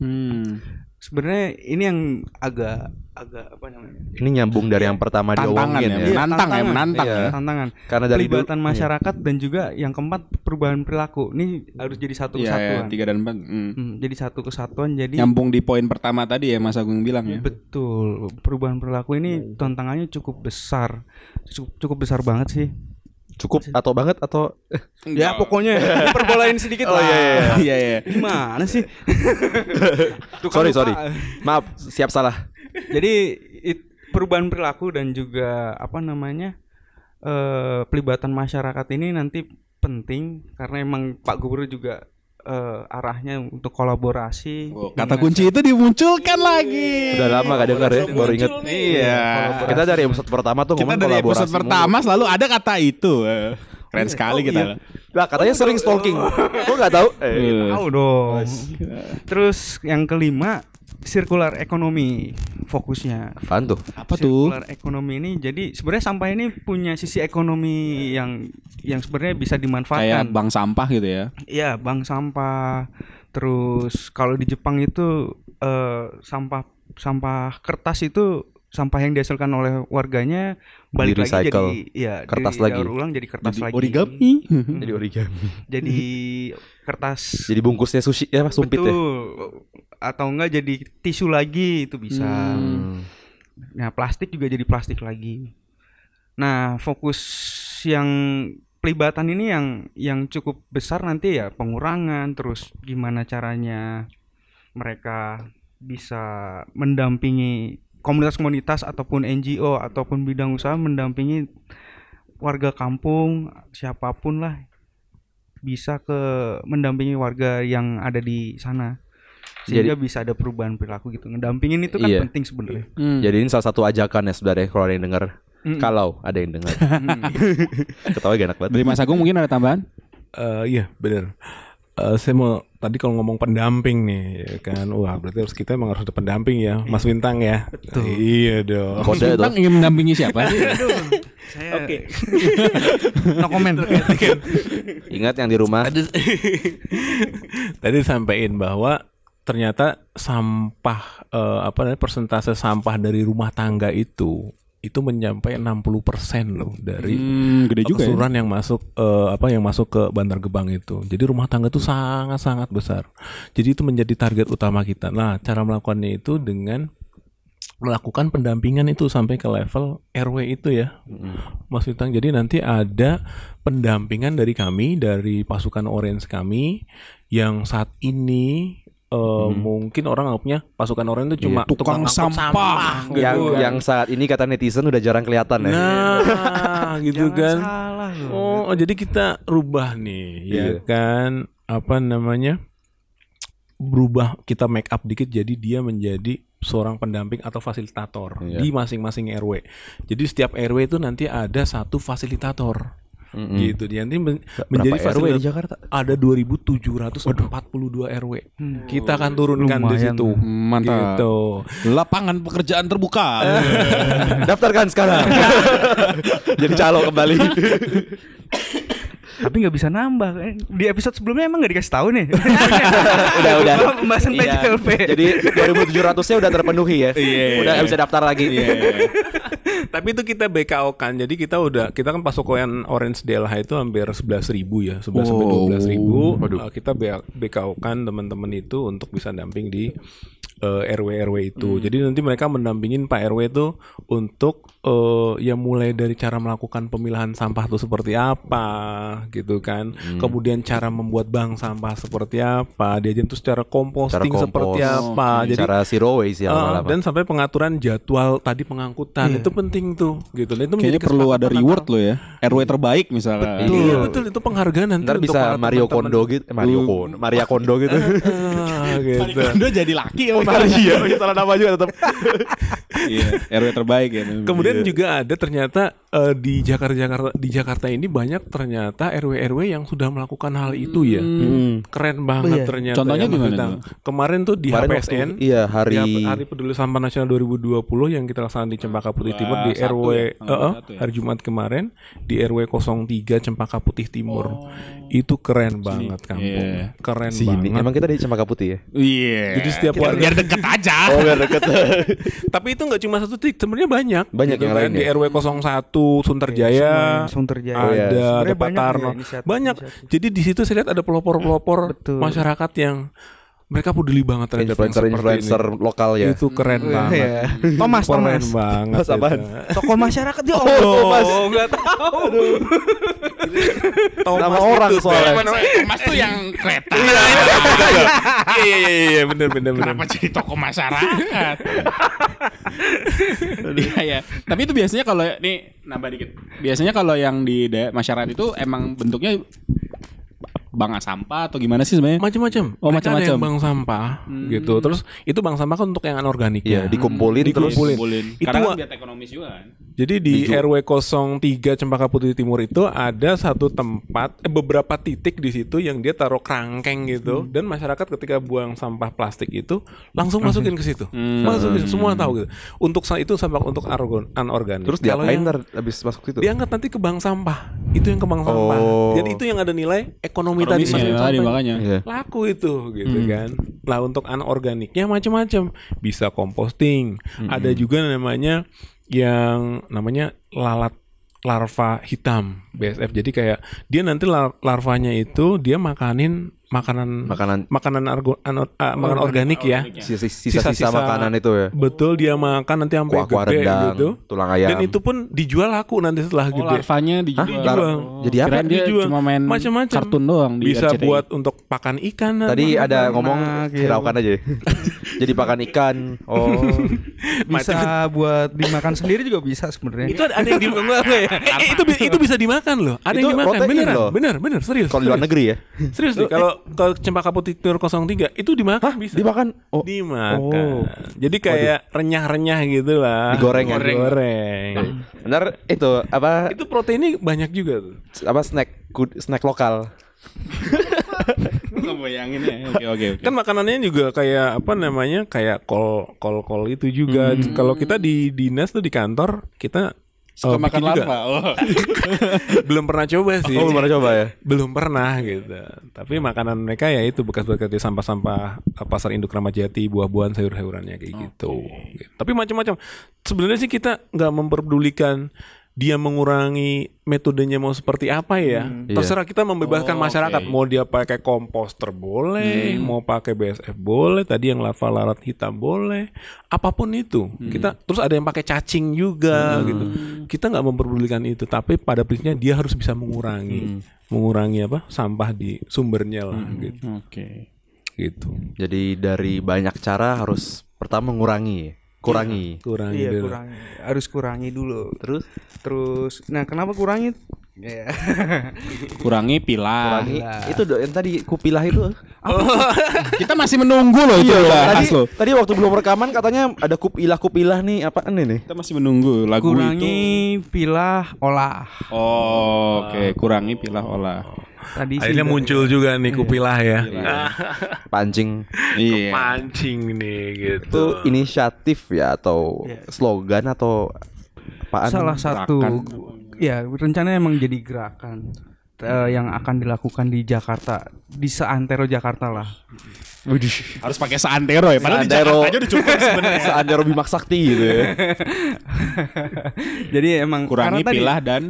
Hmm.
Sebenarnya ini yang agak agak apa namanya?
ini nyambung dari yang pertama
Tantangan ya,
diomongin ya,
Iya, menantang ya,
tantangan.
menantang
Iya,
ya.
Tantangan.
karena Eh, dari dulu Iya.
Pelibatan masyarakat dan juga yang keempat perubahan perilaku. Ini harus jadi satu
Iya, iya,
kesatuan.
tiga dan empat. Hmm.
Hmm, jadi satu kesatuan jadi
Nyambung di poin pertama tadi ya Mas Agung bilang
Iya.
ya.
Betul, perubahan perilaku
Iya,
ini tantangannya cukup besar, cukup, cukup besar banget sih.
cukup atau banget atau
Ya pokoknya *laughs* diperbolain
Oh,
sedikit lah.
Iya, iya.
Gimana sih? Tuh kan
*laughs* sorry
lupa.
sorry maaf siap salah
Jadi it- perubahan perilaku dan juga apa namanya eh, pelibatan masyarakat ini nanti penting karena emang Pak Gubernur juga eh, arahnya untuk kolaborasi.
Oh,
Kata kunci itu dimunculkan lagi.
udah lama gak denger ya baru inget
Iya.
kita dari episode pertama tuh
Kita
ngomong
dari
kolaborasi
episode pertama selalu ada kata itu. Eh, Keren sekali kita.
iya.
mulu. gitu. lah katanya sering stalking gua gak tahu eh,
Eh,
Tahu dong. Terus yang kelima, circular economy. fokusnya
Apaan tuh?
Apa tuh?
Circular ekonomi ini jadi sebenarnya sampah ini punya sisi ekonomi yang yang sebenarnya bisa
Kayak
dimanfaatkan.
bank sampah gitu ya.
Iya, bank sampah. Terus kalau di Jepang itu eh, sampah sampah kertas itu sampah yang dihasilkan oleh warganya balik lagi
Di-recycle.
jadi ya
Kertas
didaur
lagi.
ulang jadi kertas
Jadi
lagi. Hmm.
origami.
Jadi origami.
Jadi kertas
Jadi bungkusnya sushi ya apa sumpit ya?
Betul. Atau enggak jadi tisu lagi itu bisa.
Hmm.
Nah, plastik juga jadi plastik lagi. Nah, fokus yang pelibatan ini yang yang cukup besar nanti ya pengurangan terus gimana caranya mereka bisa mendampingi komunitas-komunitas ataupun NGO ataupun bidang usaha mendampingi warga kampung siapapun lah bisa ke mendampingi warga yang ada di sana sehingga bisa ada perubahan perilaku gitu ngedampingin itu kan
Iya.
penting sebenarnya
Jadi ini salah satu ajakan ya sebenarnya kalau ada yang dengar.
Mm-mm.
Kalau ada yang dengar.
Mm.
*laughs* Ketawa gak enak banget.
Dari Mas Agung mungkin ada tambahan?
Eh, iya benar. Eh, saya mau tadi kalau ngomong pendamping nih ya kan wah berarti harus kita emang harus ada pendamping ya Mas Bintang ya iya dong
Kode tuh.
Bintang ingin mendampingi siapa?
saya oke no comment
Ingat yang di rumah.
tadi sampaikan bahwa ternyata sampah eh, apa namanya persentase sampah dari rumah tangga itu itu mencapai 60% loh dari
hmm, gede juga ya.
keseluruhan yang masuk eh, apa yang masuk ke Bandar Gebang itu. Jadi rumah tangga itu sangat-sangat besar. Jadi itu menjadi target utama kita. Nah, cara melakukannya itu dengan melakukan pendampingan itu sampai ke level RW itu ya.
Mm.
Mas Bintang, jadi nanti ada pendampingan dari kami, dari pasukan orange kami yang saat ini eh, mungkin orang anggapnya pasukan orange itu cuma
Hmm. Iya, Tukang
angkut
sampah. Iya,
yang yang saat ini kata netizen udah jarang kelihatan ya.
Nah,
iya.
gitu kan.
salah loh
Oh, oh, jadi kita rubah nih,
Iya.
ya kan? Apa namanya? Berubah kita make up dikit jadi dia menjadi seorang pendamping atau fasilitator
Iya.
di masing-masing RW. Jadi setiap RW itu nanti ada satu fasilitator.
Mm-mm.
Gitu. Dia nanti men- menjadi
Berapa RW di
fasilitator.
Jakarta?
Ada 2742 RW. Kita akan turunkan di
Lumayan.
situ.
Hmm,
Mantap.
Gitu.
Lapangan pekerjaan terbuka.
*laughs* Daftarkan
*laughs*
sekarang. Jadi calo kembali.
tapi nggak bisa nambah kan di episode sebelumnya emang nggak dikasih tahu nih
udah udah.
Bahwa pembahasan
Iya.
PJLP
Jadi 2700-nya udah terpenuhi ya.
Iya,
Udah nggak bisa daftar lagi.
Tapi itu kita BKO kan. Jadi kita udah kita kan pasukan Orange DLH itu hampir 11.000 ya, 11 sampai
Wow.
12.000.
Waduh.
Eh, kita BKO kan teman-teman itu untuk bisa damping di eh, RW-RW
Hmm.
itu. Jadi nanti mereka mendampingin Pak RW itu untuk eh, ya mulai dari cara melakukan pemilahan sampah itu seperti apa gitu kan.
Hmm.
Kemudian cara membuat bank sampah seperti apa, diajarin terus cara composting seperti
kompos. Hmm.
apa. Jadi
Cara zero waste ya
Ah,
lama-lama.
dan sampai pengaturan jadwal tadi
Iya.
pengangkutan itu penting tuh gitu. Nah, Itu menjadi
Kayaknya perlu ada
kesepakatan
reward
antara-
loh ya. RW terbaik misalnya.
Betul,
Iya.
betul itu penghargaan nanti
Ntar
untuk
bisa
para
Mario
teman-teman.
Kondo gitu, eh, Mario Kondo, Maria Kondo
*laughs*
gitu. *laughs*
Ah, gitu.
Iya. Udah jadi laki ya.
iya,
Maria, salah nama juga tetap.
Iya, RW terbaik ya.
Kemudian juga ada ternyata eh, di Jakarta Jakarta di Jakarta ini banyak ternyata RW-RW yang sudah melakukan hal itu ya. Keren banget ternyata.
Hmm. Contohnya
Mas
gimana
Bintang.
tuh?
Kemarin tuh di
Oh iya. Kemarin
HPSN
waktu- iya, hari-
di Hari Peduli Sampah Nasional 2020 yang kita laksanakan di Cempaka Putih Timur di
satu ya,
RW
tanggal
eh, eh,
satu ya.
hari Jumat kemarin di RW 03 Cempaka Putih Timur. Itu keren banget kampung.
Oh. Iya.
Keren
Sini,
banget.
emang kita di Cempaka Putih ya?
Iya.
Jadi setiap
Biar-
warga-
biar deket aja.
Oh,
Iya,
biar deket.
Tapi itu nggak cuma satu titik, sebenarnya banyak.
Banyak yang
kan.
lain
di
ya?
RW 01 Sunterjaya.
Iya, Sunterjaya.
Ada,
iya.
ada
Sebenarnya banyak
Patarno.
ya inisiatif-
Banyak.
inisiatif.
Jadi di situ saya lihat ada pelopor-pelopor
Betul.
masyarakat yang mereka peduli banget terhadap yang seperti
Influencer-influencer lokal
ini.
ya.
Itu keren banget.
Iya. Thomas,
keren
Thomas.
banget.
*laughs* Mas apaan?
itu.
tokoh masyarakat ya dia
Oh, Mas.
nggak tahu
Thomas
Nama orang
itu,
soalnya.
Thomas.
Mas tuh yang kereta.
Iya iya iya, iya bener bener bener.
Kenapa jadi toko masyarakat?
*laughs* Iya ya. Tapi itu biasanya kalau ya, nih nambah dikit. Biasanya kalau yang di daerah masyarakat itu emang bentuknya banga sampah atau gimana sih sebenarnya?
Macam-macam.
Oh,
Mereka ada
macam-macam.
yang bank sampah
Hmm.
gitu. Terus itu bank sampah kan untuk yang anorganik.
Iya, dikumpulin,
Dikumpulin.
terus
Itu
Karena kan
wa-
biar ekonomis juga kan.
Jadi di RW 03 Cempaka Putih Timur itu ada satu tempat, eh, beberapa titik di situ yang dia taruh kerangkeng gitu,
Hmm.
dan masyarakat ketika buang sampah plastik itu langsung masukin ke situ,
Hmm.
masukin semua tahu gitu. Untuk sa- itu sampah untuk argon, anorganik.
Terus
Gitu. Kalau
diapain
yang-
ntar abis masuk situ?
diangkat nanti ke bank sampah itu yang ke bank sampah
Oh.
jadi itu yang ada nilai ekonomi tadi
Ekonomisnya
masukin
tadi,
sampah.
makanya.
Iya.
laku itu gitu
Hmm.
kan nah untuk anorganiknya macam-macam bisa composting
Hmm.
ada juga namanya yang namanya lalat larva hitam BSF jadi kayak dia nanti lar- larvanya itu dia makanin makanan
Makanan-
makanan argo, ano- ah, makanan organik, ya
Sisa- Sisa-sisa makanan itu ya.
betul dia makan nanti sampai
Kuah-kuah
gede
rendang,
gitu
tulang ayam.
dan itu pun dijual laku nanti setelah
Oh,
gede
larvanya
Hah?
dijual.
Lar-
Dijual.
Jadi apa?
Kirain dia
Dijual.
cuma main
Macem-macem.
kartun doang di
bisa
RCTI.
buat untuk pakan ikan
Tadi
apa,
ada ngomong
enak, iya.
hiraukan aja. ya. *laughs* Jadi pakan ikan. Oh.
bisa buat dimakan sendiri juga bisa sebenarnya
itu ada, ada yang dimakan ya? eh, eh, *laughs* itu bi- itu bisa dimakan loh ada
Itu
yang dimakan
protein
beneran
loh.
bener bener serius
Kalau di luar
serius.
negeri ya.
serius nih kalau ke cempaka putih Tur 03 itu dimakan bisa
Dimakan. Oh.
dimakan jadi kayak renyah-renyah gitu lah
Digoreng ya?
digoreng
Benar itu apa
itu proteinnya banyak juga tuh
apa snack kud- snack lokal.
Nggak bayangin ya. Oke, oke, oke.
kan makanannya juga kayak apa namanya kayak kol kol kol itu juga
Hmm.
kalau kita di dinas tuh di kantor kita
Suka
eh,
makan
bikin juga.
larva. Oh.
belum pernah coba sih
Oh, belum pernah coba ya?
belum pernah gitu tapi makanan mereka ya itu bekas-bekas dari sampah-sampah eh, pasar induk Ramadjati buah-buahan sayur-sayurannya kayak gitu. Gitu. tapi macam-macam sebenarnya sih kita nggak memperdulikan dia mengurangi metodenya mau seperti apa ya terserah kita membebaskan masyarakat mau dia pakai komposter boleh mau pakai BSF boleh tadi yang larva lalat hitam boleh apapun itu kita terus ada yang pakai cacing juga gitu kita nggak memperdulikan itu tapi pada prinsipnya dia harus bisa mengurangi mengurangi apa sampah di sumbernya lah gitu
Oke.
gitu
Jadi dari banyak cara harus pertama mengurangi, kurangi.
kurangi
iya
dulu.
kurangi harus kurangi dulu
Terus
terus nah kenapa kurangi ya
Kurangi pilah.
kurangi. Itu do- yang tadi kupilah itu.
Kita masih menunggu loh itu
Iya, tadi,
bahas loh.
tadi waktu belum rekaman katanya ada kupilah kupilah nih apaan ini?
*laughs*
Kita masih menunggu lagu itu.
kurangi pilah olah
Oh, oke, kurangi pilah olah.
tadi sih
akhirnya
dari-
muncul juga nih kupilah ya
Pancing.
Iya.
mancing nih
Itu
gitu
inisiatif ya atau
Iya.
slogan atau apaan?
salah satu
gerakan.
ya rencana emang jadi gerakan eh, yang akan dilakukan di Jakarta di seantero Jakarta lah
Harus pakai seantero ya. Padahal di Jakarta aja udah cukup
*laughs*
sebenarnya.
Seandero Bimak Sakti gitu ya.
*laughs* jadi emang
Kurangi
karena tadi-
pilah dan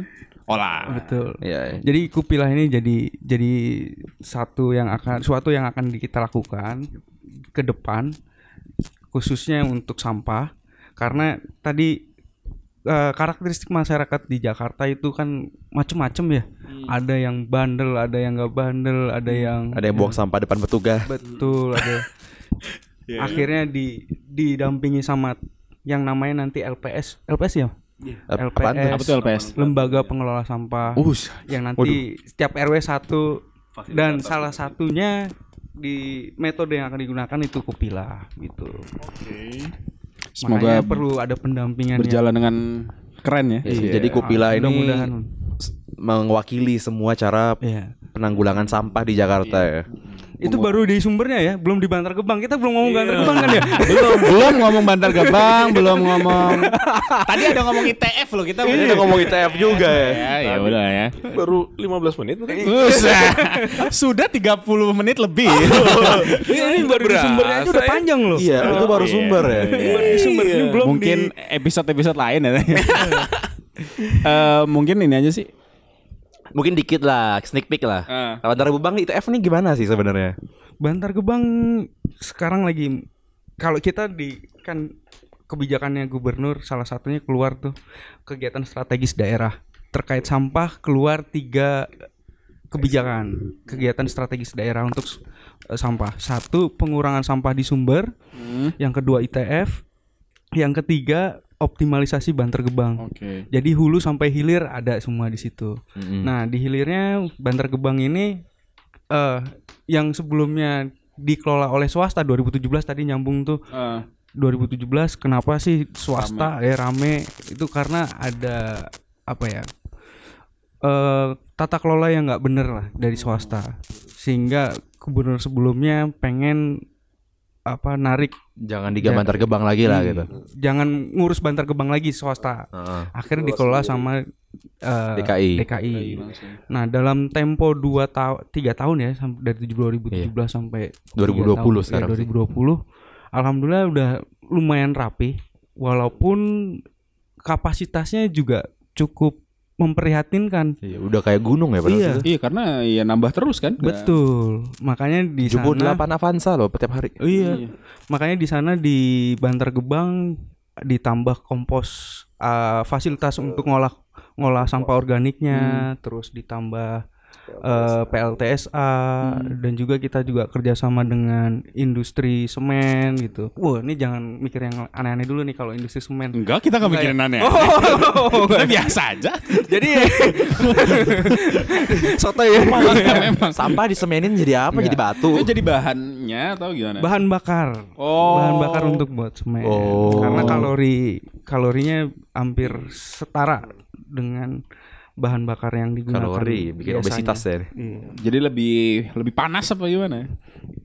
olah.
betul
Iya. iya.
jadi kupilah ini jadi jadi satu yang akan suatu yang akan kita lakukan ke depan khususnya untuk sampah karena tadi eh, karakteristik masyarakat di Jakarta itu kan macem-macem ya ada yang bandel ada yang nggak bandel ada yang
Hmm. Ada yang buang sampah depan petugas.
Hmm.
Betul
*laughs*
ada.
Ya,
Akhirnya di didampingi sama yang namanya nanti LPS, LPS ya?
Ap- apaan tuh?
LPS.
Iya. Apa tuh LPS?
Lembaga Pengelola Sampah.
Us.
yang nanti setiap RW satu dan salah satunya di metode yang akan digunakan itu kupila gitu.
Semoga
Makanya perlu ada pendampingan Ah,
berjalan dengan keren ya.
Iya, Jadi kupilah ini
Mudah-mudahan.
s- mewakili semua cara
Iya.
penanggulangan sampah di Jakarta
Iya.
ya.
Itu baru di sumbernya ya, belum di Bantar Gebang. Kita belum ngomong
Iya.
Bantar Gebang kan ya?
belum belum ngomong Bantar Gebang, belum ngomong. Tadi ada ngomong ITF loh kita.
Ini udah ngomong ITF juga ya.
Ya, Iya, ya udah ya.
baru 15 menit bukan
Iya.
Sudah 30 menit *laughs* lebih.
Ini baru di sumbernya aja udah panjang loh.
Iya, itu baru sumber ya.
Iya. mungkin episode-episode lain ya. Eh, mungkin ini aja sih.
Mungkin dikit lah, sneak peek lah.
Ah.
Nah, Antara Bang ITF nih gimana sih sebenarnya?
Bantar Gebang sekarang lagi kalau kita di kan kebijakannya gubernur salah satunya keluar tuh kegiatan strategis daerah terkait sampah keluar tiga kebijakan kegiatan strategis daerah untuk s- eh, sampah satu pengurangan sampah di sumber yang kedua ITF yang ketiga optimalisasi Bantar Gebang
Oh.
Oke.
jadi hulu sampai hilir ada semua di situ.
Hmm.
Nah, di hilirnya Bantar Gebang ini eh yang sebelumnya dikelola oleh swasta 2017 tadi nyambung tuh 2017 kenapa sih swasta ya rame itu karena ada apa ya eh tata kelola yang nggak bener lah dari swasta sehingga gubernur sebelumnya pengen apa narik
Jangan diga bantar gebang lagi lah gitu.
jangan ngurus bantar gebang lagi swasta
Heeh.
akhirnya dikelola sama eh,
DKI.
DKI. Nah, dalam tempo 2 tahun 3 tahun ya sam- dari 2017 sampai
2020
tiga tahun, ya,
sekarang sih.
2020. Alhamdulillah udah lumayan rapi walaupun kapasitasnya juga cukup memprihatinkan.
Iya, udah kayak gunung ya padahal.
Iya.
itu.
Iya karena ya nambah terus kan.
Betul. Makanya di
Jumbo
sana
8 Avanza loh tiap hari. *laughs*
Iya. Makanya di sana di Bantar Gebang ditambah kompos eh, fasilitas untuk ngolah ngolah sampah
Hmm.
organiknya, terus ditambah eh, PLTSA
Hmm.
dan juga kita juga kerjasama dengan industri semen gitu. Wah ini jangan mikir yang aneh-aneh dulu nih kalau industri semen.
Enggak, kita nggak mikirin aneh.
Oh,
Kita biasa aja.
Jadi
*laughs*
soto ya
Iya, Sampah disemenin jadi apa? Jadi batu.
Itu jadi bahannya atau gimana?
bahan bakar.
Oh.
Bahan bakar untuk buat semen.
Oh.
Karena kalori kalorinya hampir setara dengan bahan bakar yang digunakan.
Kalori, bikin
biasanya.
obesitas ya. ini.
Jadi lebih lebih panas apa gimana?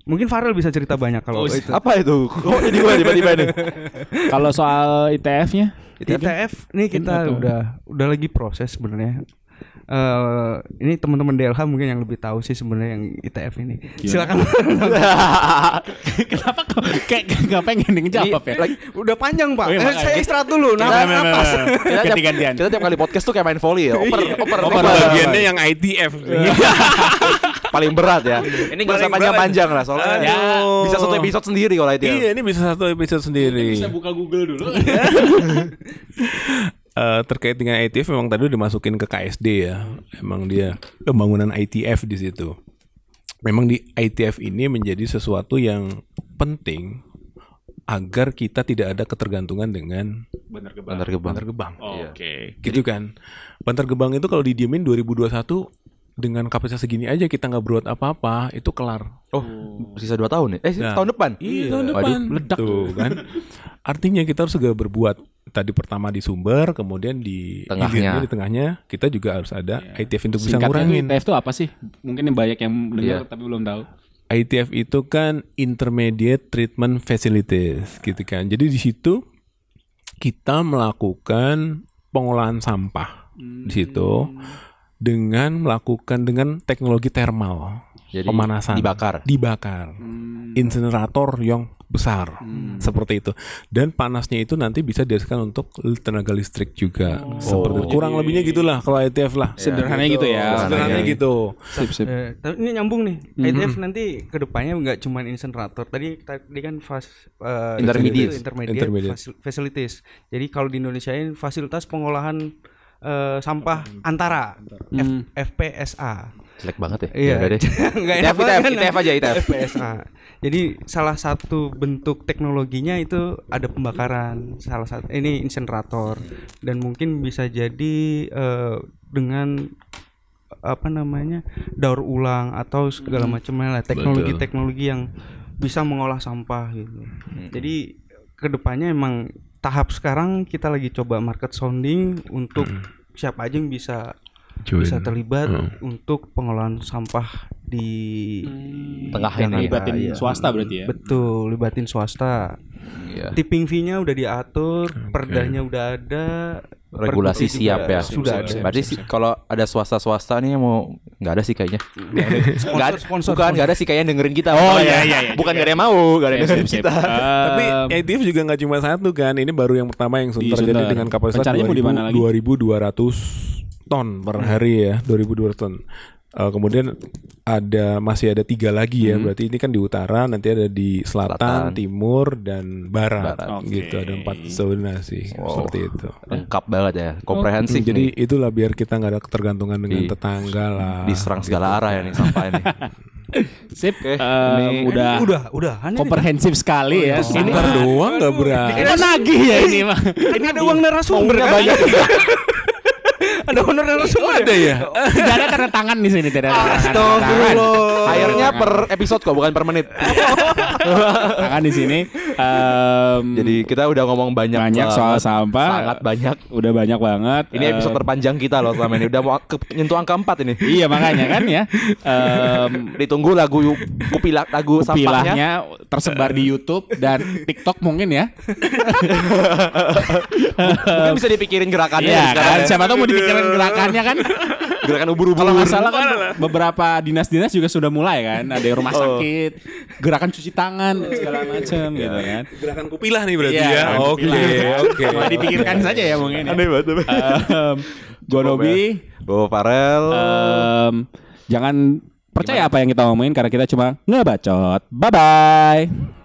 Mungkin Farel bisa cerita banyak kalau itu.
Apa itu? Gitu. Kok jadi gua tiba-tiba *laughs* ini?
Kalau soal ITF-nya?
E ITF ini kita
atau-
udah udah lagi proses sebenarnya. Eh, ini teman-teman DLH mungkin yang lebih tahu sih sebenarnya yang ITF ini. Silakan. *laughs*
Kenapa kok kayak nggak pengen ngejawab ya?
udah panjang, Pak.
Oh, iya,
Eh,
makanya.
saya istirahat dulu.
Kita- Kita
Nah,
tiap-
Ganti-gantian.
Kita tiap kali podcast tuh kayak main volley ya.
Iya.
Oper, oper,
Oper bagiannya yang ITF.
paling berat ya. Ini nggak usah
Paling
panjang-panjang lah soalnya. Ya. Bisa satu episode sendiri kalau itu. ya.
Iya, ini bisa satu episode sendiri. Bisa buka *laughs* Google dulu. Eh, terkait dengan ITF memang tadi udah masukin ke KSD ya. Emang dia pembangunan ITF di situ. Memang di ITF ini menjadi sesuatu yang penting agar kita tidak ada ketergantungan dengan
Bantar gebang.
bantar gebang.
Iya.
Oke.
Gitu kan. Bantar gebang itu kalau didiemin 2021 dengan kapasitas segini aja kita nggak buat apa-apa, itu kelar.
Oh, sisa 2 tahun ya? Eh,
Nah.
tahun depan.
Iya, tahun
Waduh,
depan.
meledak.
Tuh, kan. Artinya kita harus segera berbuat. Tadi pertama di sumber, kemudian di
Tengahnya.
hilirnya, di tengahnya kita juga harus ada ITF untuk bisa
Singkatnya tuh
ngurangin.
ITF itu apa sih? Mungkin yang banyak yang dengar tapi belum tahu.
ITF itu kan Intermediate Treatment Facilities gitu kan. Jadi di situ kita melakukan pengolahan sampah di situ dengan melakukan dengan teknologi thermal.
Jadi,
pemanasan
dibakar.
dibakar insinerator yang besar seperti itu dan panasnya itu nanti bisa dihasilkan untuk tenaga listrik juga seperti itu. kurang lebihnya gitulah kalau ITF lah
Sederhananya gitu ya.
sederhananya gitu
Sip, sip.
Eh, tapi ini nyambung nih. ITF nanti kedepannya nggak cuma incinerator. Tadi tadi kan fas, eh,
Intermediate.
itu intermediate,
Intermediate.
fasil- facilities. Jadi kalau di Indonesia ini fasilitas pengolahan eh, sampah antara F- FPSA.
Jelek banget ya.
Iya.
Yaudah deh.
*laughs* Nggak
ITF,
enak banget kan?
ITF aja, ITF.
FPSA. Jadi salah satu bentuk teknologinya itu ada pembakaran. Salah satu ini insinerator dan mungkin bisa jadi eh, dengan apa namanya daur ulang atau segala macamnya lah teknologi-teknologi yang bisa mengolah sampah gitu. Jadi kedepannya emang tahap sekarang kita lagi coba market sounding untuk siapa aja yang bisa
Join.
bisa terlibat untuk pengolahan sampah di
Tengah ini.
ya, Libatin
Iya.
swasta berarti ya.
betul libatin swasta.
Iya.
Tipping fee-nya udah diatur, perdanya udah ada,
Regulasi
pergub juga
siap ya.
Sudah ada.
Berarti sih kalau ada swasta-swasta nih yang mau nggak ada sih kayaknya. Nggak ada.
sponsor,
Bukan nggak ada sih kayaknya dengerin kita. Oh iya iya iya. Bukan nggak ada yang mau, nggak
*laughs*
ada yang dengerin kita.
Tapi
Ehm,
ITF juga nggak cuma satu kan. Ini baru yang pertama yang Sunter.
Iya, Sunter.
Jadi dengan kapasitas
Rencananya mau di mana Hmm.
2000 2200 ton per hari ya, 2200 ton. Eh, kemudian ada masih ada tiga lagi
Hmm.
ya. Berarti ini kan di utara, nanti ada di selatan, timur dan barat, gitu. Ada empat zona sih seperti itu. Hmm,
Lengkap banget ya.
Oh,
Komprehensif.
Jadi
Jadi
itulah biar kita nggak ada ketergantungan dengan
Iya.
Di-
tetangga lah.
ah,
diserang
gitu.
segala arah ya nih sampah
*laughs*
ini.
Sip. Eh, udah
udah udah aneh nih.
komprehensif sekali ya.
Gitu. Ini
Sangat.
doang nggak berani.
Kita nagih ya ini mah.
Ini ada uang narasumber kan? ada uang narasumber ada ya?
Tidak ada tanda tangan di sini, tidak ada tanda tangan.
Astagfirullah.
Hmm.
Airnya per episode kok, bukan per menit.
Tangan di sini. Ehm, Em,
Jadi kita udah ngomong banyak
banyak
banget,
soal sampah.
sangat banyak.
Udah banyak banget.
Ini
Eh,
episode terpanjang kita loh selama ini. Udah mau ke, nyentuh angka 4 ini. *laughs*
Iya makanya kan ya. Ehm, Em,
Ditunggu lagu kupilah lagu sampahnya.
Pilahnya tersebar di YouTube
*laughs*
dan TikTok mungkin ya.
Mungkin bisa dipikirin gerakannya
Iya
sekarang
kan.
ya.
Siapa tahu mau dipikirin gerakannya kan.
Gerakan ubur-ubur.
Kalau nggak salah kan beberapa dinas-dinas juga sudah mulai kan. Ada yang rumah
Oh.
sakit, gerakan cuci tangan dan segala macam gitu kan.
iya. Gerakan kupilah nih berarti
Iya,
ya.
gerakan
Oke,
kupilah.
oke.
Mau dipikirkan saja ya mungkin ya.
Aneh banget.
Em, Gua Nobi,
Gue Farel.
ya.
Eh, em, jangan percaya apa yang kita omongin karena kita cuma ngebacot. Bye bye.